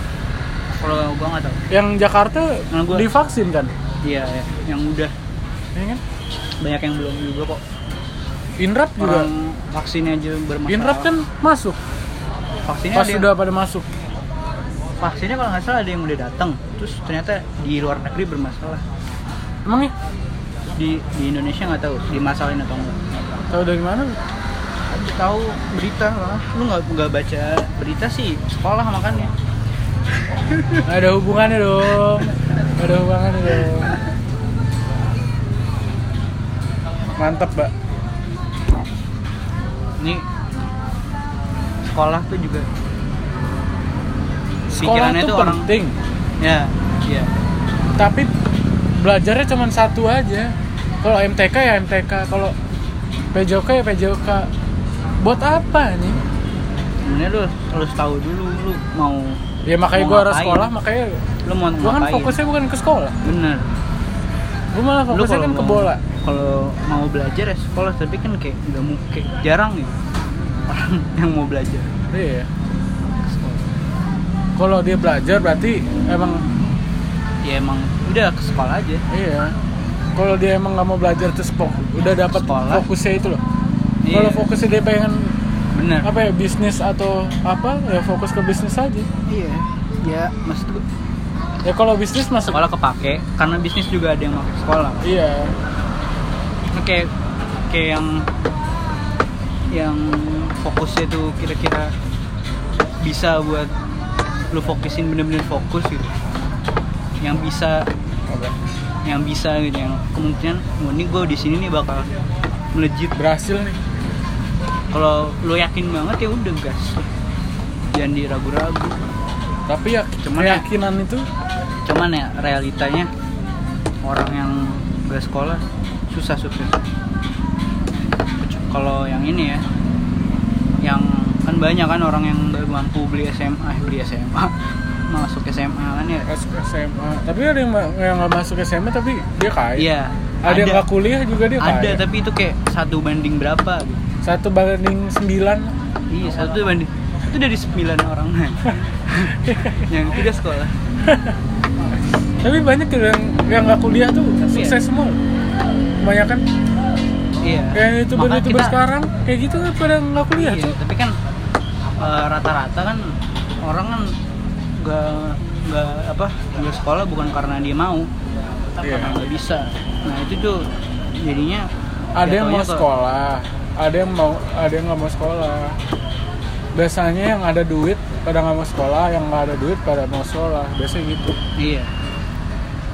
[SPEAKER 1] Kalau gua gak tahu.
[SPEAKER 2] yang Jakarta
[SPEAKER 1] Nah, gua-
[SPEAKER 2] divaksin kan
[SPEAKER 1] Iya, iya. yang udah
[SPEAKER 2] Iya kan?
[SPEAKER 1] banyak yang belum juga kok.
[SPEAKER 2] Iya. Inrap juga.
[SPEAKER 1] Orang vaksin aja bermasalah.
[SPEAKER 2] Inrap kan masuk.
[SPEAKER 1] vaksinnya
[SPEAKER 2] Pas
[SPEAKER 1] ada yang-
[SPEAKER 2] sudah pada masuk.
[SPEAKER 1] vaksinnya kalau nggak salah ada yang udah datang, terus ternyata di luar negeri bermasalah.
[SPEAKER 2] Emang ya?
[SPEAKER 1] Terus Di di Indonesia nggak tahu dimasalahin atau enggak.
[SPEAKER 2] Tahu dari mana?
[SPEAKER 1] Tahu berita lah. Lu nggak nggak baca berita sih sekolah makanya.
[SPEAKER 2] Nggak ada hubungannya dong. Nggak ada hubungannya dong. Mantap, Mbak.
[SPEAKER 1] Ini sekolah tuh juga
[SPEAKER 2] Sekolah
[SPEAKER 1] Pikirannya
[SPEAKER 2] itu
[SPEAKER 1] tuh orang-
[SPEAKER 2] penting,
[SPEAKER 1] ya iya
[SPEAKER 2] tapi belajarnya cuma satu aja. Kalau MTK ya MTK, kalau PJOK ya PJOK. Buat apa nih?
[SPEAKER 1] sebenarnya lu harus tahu dulu lu mau
[SPEAKER 2] Ya makanya
[SPEAKER 1] Mau
[SPEAKER 2] gua harus
[SPEAKER 1] ngapain?
[SPEAKER 2] sekolah, makanya
[SPEAKER 1] lu mau
[SPEAKER 2] gua kan
[SPEAKER 1] ngapain
[SPEAKER 2] fokusnya bukan ke sekolah.
[SPEAKER 1] bener
[SPEAKER 2] Gua malah
[SPEAKER 1] lu
[SPEAKER 2] fokusnya kan
[SPEAKER 1] mau-
[SPEAKER 2] ke bola.
[SPEAKER 1] kalau mau belajar ya sekolah tapi kan kayak nggak mungkin kayak jarang ya orang yang mau belajar
[SPEAKER 2] Iya. Kalau dia belajar berarti emang
[SPEAKER 1] ya emang udah ke sekolah aja
[SPEAKER 2] Iya. Kalau dia emang nggak mau belajar terus fok- udah dapat
[SPEAKER 1] Sekolah.
[SPEAKER 2] fokusnya itu loh.
[SPEAKER 1] Iya.
[SPEAKER 2] Kalau fokusnya dia pengen
[SPEAKER 1] bener
[SPEAKER 2] apa ya bisnis atau apa ya fokus ke bisnis aja.
[SPEAKER 1] iya ya maksud gue
[SPEAKER 2] Ya kalau bisnis masuk.
[SPEAKER 1] sekolah kepake karena bisnis juga ada yang pakai sekolah
[SPEAKER 2] Iya.
[SPEAKER 1] kayak kayak yang yang fokusnya tuh kira-kira bisa buat lu fokusin bener-bener fokus gitu yang bisa yang bisa gitu yang kemungkinan oh, ini gue di sini nih bakal melejit
[SPEAKER 2] Berhasil nih.
[SPEAKER 1] kalau lu yakin banget ya udah gas jangan diragu-ragu
[SPEAKER 2] Tapi ya
[SPEAKER 1] Cuman ya-
[SPEAKER 2] keyakinan itu
[SPEAKER 1] cuman ya realitanya orang yang gak sekolah susah sukses Kecu- kalau yang ini ya yang kan banyak kan orang yang nggak mampu beli SMA eh, beli SMA masuk SMA kan ya
[SPEAKER 2] masuk SMA. Tapi ada yang ma- yang nggak masuk SMA tapi dia kaya.
[SPEAKER 1] iya
[SPEAKER 2] Ada, yang nggak ya? kuliah juga dia
[SPEAKER 1] ada
[SPEAKER 2] kaya.
[SPEAKER 1] tapi itu kayak satu banding berapa gitu.
[SPEAKER 2] Satu banding sembilan.
[SPEAKER 1] iya satu banding itu dari sembilan orang yang tidak sekolah
[SPEAKER 2] Tapi banyak yang yang nggak kuliah tuh sukses semua. Kebanyakan
[SPEAKER 1] iya
[SPEAKER 2] Kayak youtuber
[SPEAKER 1] Maka
[SPEAKER 2] youtuber
[SPEAKER 1] kita-
[SPEAKER 2] sekarang kayak gitu kan pada nggak kuliah
[SPEAKER 1] Iya,
[SPEAKER 2] tuh.
[SPEAKER 1] tapi kan eh, rata-rata kan orang kan nggak nggak apa nggak sekolah bukan karena dia mau, tapi
[SPEAKER 2] Iya.
[SPEAKER 1] karena nggak bisa. Nah itu tuh jadinya
[SPEAKER 2] Ada yang mau
[SPEAKER 1] jatuhnya ke-
[SPEAKER 2] sekolah, ada yang mau ada yang nggak mau sekolah. Biasanya yang ada duit pada nggak mau sekolah, yang nggak ada duit pada mau sekolah. Biasanya gitu.
[SPEAKER 1] Iya.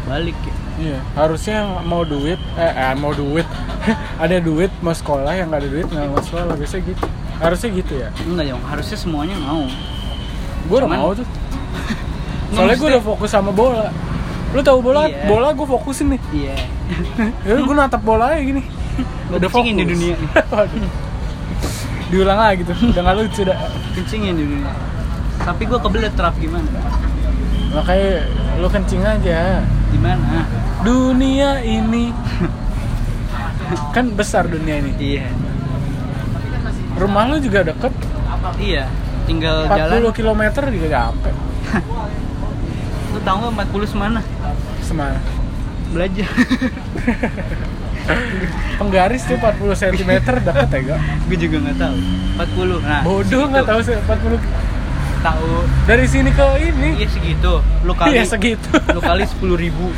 [SPEAKER 1] Balik ya.
[SPEAKER 2] Iya. Harusnya yang mau duit, eh, eh, mau duit, ada duit mau sekolah, yang nggak ada duit nggak mau sekolah. Biasanya gitu. Harusnya gitu ya.
[SPEAKER 1] Enggak dong, harusnya semuanya mau.
[SPEAKER 2] Gue udah
[SPEAKER 1] Cuman-
[SPEAKER 2] mau tuh. Soalnya gue udah fokus sama bola. Lu tahu bola?
[SPEAKER 1] Iya.
[SPEAKER 2] Bola gue fokusin nih.
[SPEAKER 1] Iya.
[SPEAKER 2] Ya gue natap bola aja gini.
[SPEAKER 1] Gua kencingin di dunia nih.
[SPEAKER 2] Waduh. Diulang lagi tuh, udah gak lucu dah.
[SPEAKER 1] Kencingin di dunia. Tapi gue kebelet terap gimana?
[SPEAKER 2] Makanya lu kencing aja.
[SPEAKER 1] Gimana?
[SPEAKER 2] Dunia ini kan besar dunia ini.
[SPEAKER 1] Iya.
[SPEAKER 2] Rumah lu juga deket,
[SPEAKER 1] Iya. Tinggal jalan.
[SPEAKER 2] 40 km juga nyampe.
[SPEAKER 1] Lu tahu nggak 40 semana?
[SPEAKER 2] Semana.
[SPEAKER 1] Belajar.
[SPEAKER 2] Penggaris tuh 40 cm deket ya gak?
[SPEAKER 1] gue juga nggak tahu. 40. Nah,
[SPEAKER 2] Bodoh nggak
[SPEAKER 1] segitu.
[SPEAKER 2] tahu sih 40
[SPEAKER 1] Tahu.
[SPEAKER 2] dari sini ke ini.
[SPEAKER 1] Iya segitu. Lu kali
[SPEAKER 2] Iya segitu.
[SPEAKER 1] lu kali 10.000 ribu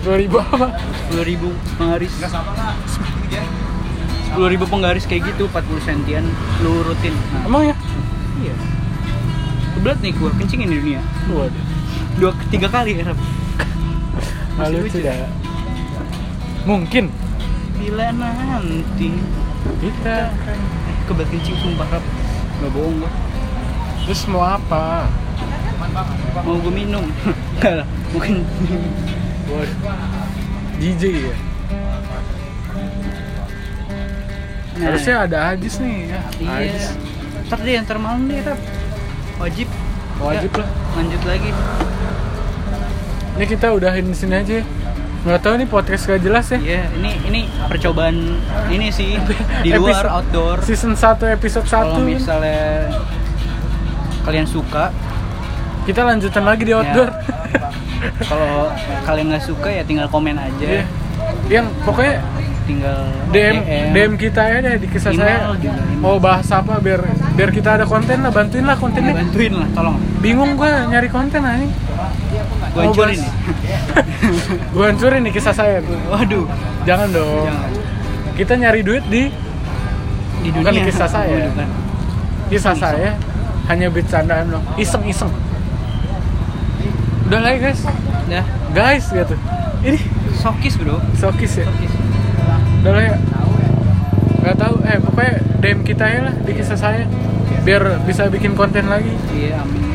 [SPEAKER 2] 10 ribu apa?
[SPEAKER 1] 10.000 penggaris 10.000 penggaris kayak gitu 40 sentian lu rutin nah,
[SPEAKER 2] Emang ya?
[SPEAKER 1] iya kebelet nih gua kencingin di dunia
[SPEAKER 2] Waduh.
[SPEAKER 1] dua tiga kali Arab
[SPEAKER 2] Gak
[SPEAKER 1] Masih
[SPEAKER 2] lucu
[SPEAKER 1] lucu. ya?
[SPEAKER 2] dah. Mungkin
[SPEAKER 1] bila nanti
[SPEAKER 2] kita
[SPEAKER 1] eh, kebelet kencing sumpah Arab nggak bohong gua
[SPEAKER 2] terus mau apa?
[SPEAKER 1] mau gua minum enggak lah mungkin
[SPEAKER 2] Buat
[SPEAKER 1] Iya.
[SPEAKER 2] DJ ya.
[SPEAKER 1] Nah,
[SPEAKER 2] Harusnya ada Ajis nih ya.
[SPEAKER 1] iya
[SPEAKER 2] Ajis.
[SPEAKER 1] ntar deh ntar malam deh Arab wajib
[SPEAKER 2] Wajib lah.
[SPEAKER 1] lanjut lagi
[SPEAKER 2] Ini kita udahin di sini aja. ya. Nggak tahu nih podcast gak jelas ya.
[SPEAKER 1] Iya, ini ini percobaan ini sih di luar
[SPEAKER 2] Episode-
[SPEAKER 1] outdoor.
[SPEAKER 2] Season 1 episode
[SPEAKER 1] Kalau
[SPEAKER 2] 1.
[SPEAKER 1] misalnya kalian suka, Iya.
[SPEAKER 2] Kita lanjutan lagi di outdoor.
[SPEAKER 1] ya, kalau kalian nggak suka ya tinggal komen aja
[SPEAKER 2] Iya. Yang pokoknya
[SPEAKER 1] tinggal
[SPEAKER 2] DM DM kita ya deh di kisah
[SPEAKER 1] Email
[SPEAKER 2] saya.
[SPEAKER 1] juga, email.
[SPEAKER 2] Mau bahas apa biar biar kita ada konten lah, bantuin lah
[SPEAKER 1] Ya,
[SPEAKER 2] kontennya.
[SPEAKER 1] bantuin lah tolong
[SPEAKER 2] Bingung gua nyari konten anjing.
[SPEAKER 1] gue
[SPEAKER 2] Mau
[SPEAKER 1] hancurin
[SPEAKER 2] Oh, bahas-
[SPEAKER 1] nih
[SPEAKER 2] Gua hancurin nih kisah saya.
[SPEAKER 1] waduh
[SPEAKER 2] Jangan dong.
[SPEAKER 1] jangan
[SPEAKER 2] Kita nyari duit di
[SPEAKER 1] di
[SPEAKER 2] Bukan
[SPEAKER 1] dunia
[SPEAKER 2] di kisah saya.
[SPEAKER 1] Waduh, kan.
[SPEAKER 2] kisah saya hanya bercandaan dong. Iseng-iseng. Udah lah ya, guys.
[SPEAKER 1] dah
[SPEAKER 2] Guys gitu. Ini
[SPEAKER 1] sokis bro
[SPEAKER 2] sokis ya.
[SPEAKER 1] sokis
[SPEAKER 2] Udah lah ya. Gak tahu. Eh pokoknya DM kita ya lah di kisah saya. Biar bisa bikin konten lagi.
[SPEAKER 1] iya amin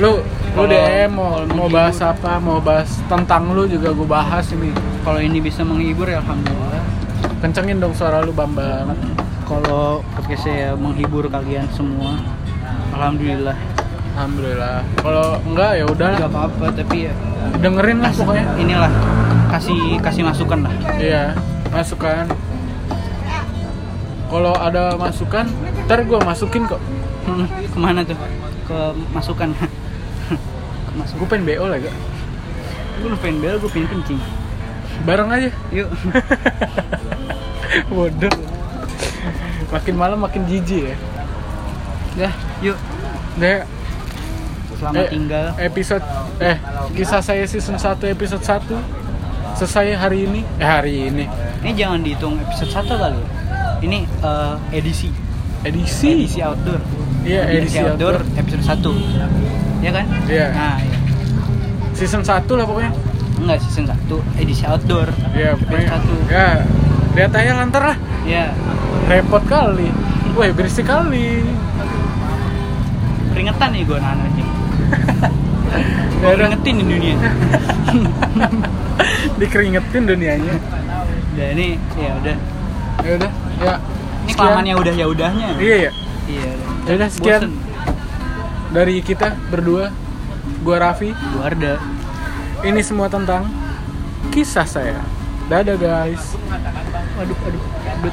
[SPEAKER 2] lu lu
[SPEAKER 1] Kalau- kalau
[SPEAKER 2] DM mau, mau
[SPEAKER 1] menghibur.
[SPEAKER 2] bahas apa mau bahas tentang lu juga gue bahas ini
[SPEAKER 1] kalau ini bisa menghibur ya alhamdulillah
[SPEAKER 2] kencengin dong suara lu bambang
[SPEAKER 1] kalau podcast saya menghibur kalian semua alhamdulillah
[SPEAKER 2] alhamdulillah kalau enggak ya udah
[SPEAKER 1] nggak apa-apa tapi ya
[SPEAKER 2] dengerin lah
[SPEAKER 1] kasih-
[SPEAKER 2] pokoknya
[SPEAKER 1] inilah kasih kasih masukan lah
[SPEAKER 2] iya masukan kalau ada masukan ntar gue masukin kok
[SPEAKER 1] Hmm, kemana tuh ke masukan ke
[SPEAKER 2] gue
[SPEAKER 1] masukan
[SPEAKER 2] pengen bo lagi Kak.
[SPEAKER 1] gue lupain bel gue pengen kencing
[SPEAKER 2] bareng aja
[SPEAKER 1] yuk
[SPEAKER 2] waduh makin malam makin jijik ya
[SPEAKER 1] dah yuk
[SPEAKER 2] deh
[SPEAKER 1] selamat
[SPEAKER 2] Eh,
[SPEAKER 1] tinggal
[SPEAKER 2] episode eh kisah saya season 1 episode 1 selesai hari ini eh hari ini
[SPEAKER 1] ini jangan dihitung episode 1 kali ya. ini eh, edisi
[SPEAKER 2] edisi
[SPEAKER 1] edisi outdoor
[SPEAKER 2] Iya, edisi outdoor.
[SPEAKER 1] episode 1 ya kan
[SPEAKER 2] Iya.
[SPEAKER 1] nah
[SPEAKER 2] season 1 lah pokoknya
[SPEAKER 1] enggak season 1 edisi outdoor
[SPEAKER 2] ya pokoknya
[SPEAKER 1] episode 1
[SPEAKER 2] ya lihat aja lantar lah
[SPEAKER 1] ya
[SPEAKER 2] repot kali weh berisik kali
[SPEAKER 1] keringetan nih gue nahan anjing
[SPEAKER 2] Ya
[SPEAKER 1] gue
[SPEAKER 2] udah,
[SPEAKER 1] keringetin di dunia
[SPEAKER 2] dikeringetin dunianya
[SPEAKER 1] ya ini ya udah
[SPEAKER 2] ya udah ya
[SPEAKER 1] ini
[SPEAKER 2] sekian.
[SPEAKER 1] kelamaan ya udah ya udahnya
[SPEAKER 2] iya ya
[SPEAKER 1] iya
[SPEAKER 2] Ya udah,
[SPEAKER 1] Bosen.
[SPEAKER 2] sekian. dari kita berdua gua Raffi
[SPEAKER 1] Gua Arda.
[SPEAKER 2] ini semua tentang kisah saya dadah guys
[SPEAKER 1] Waduh, aduh, aduh.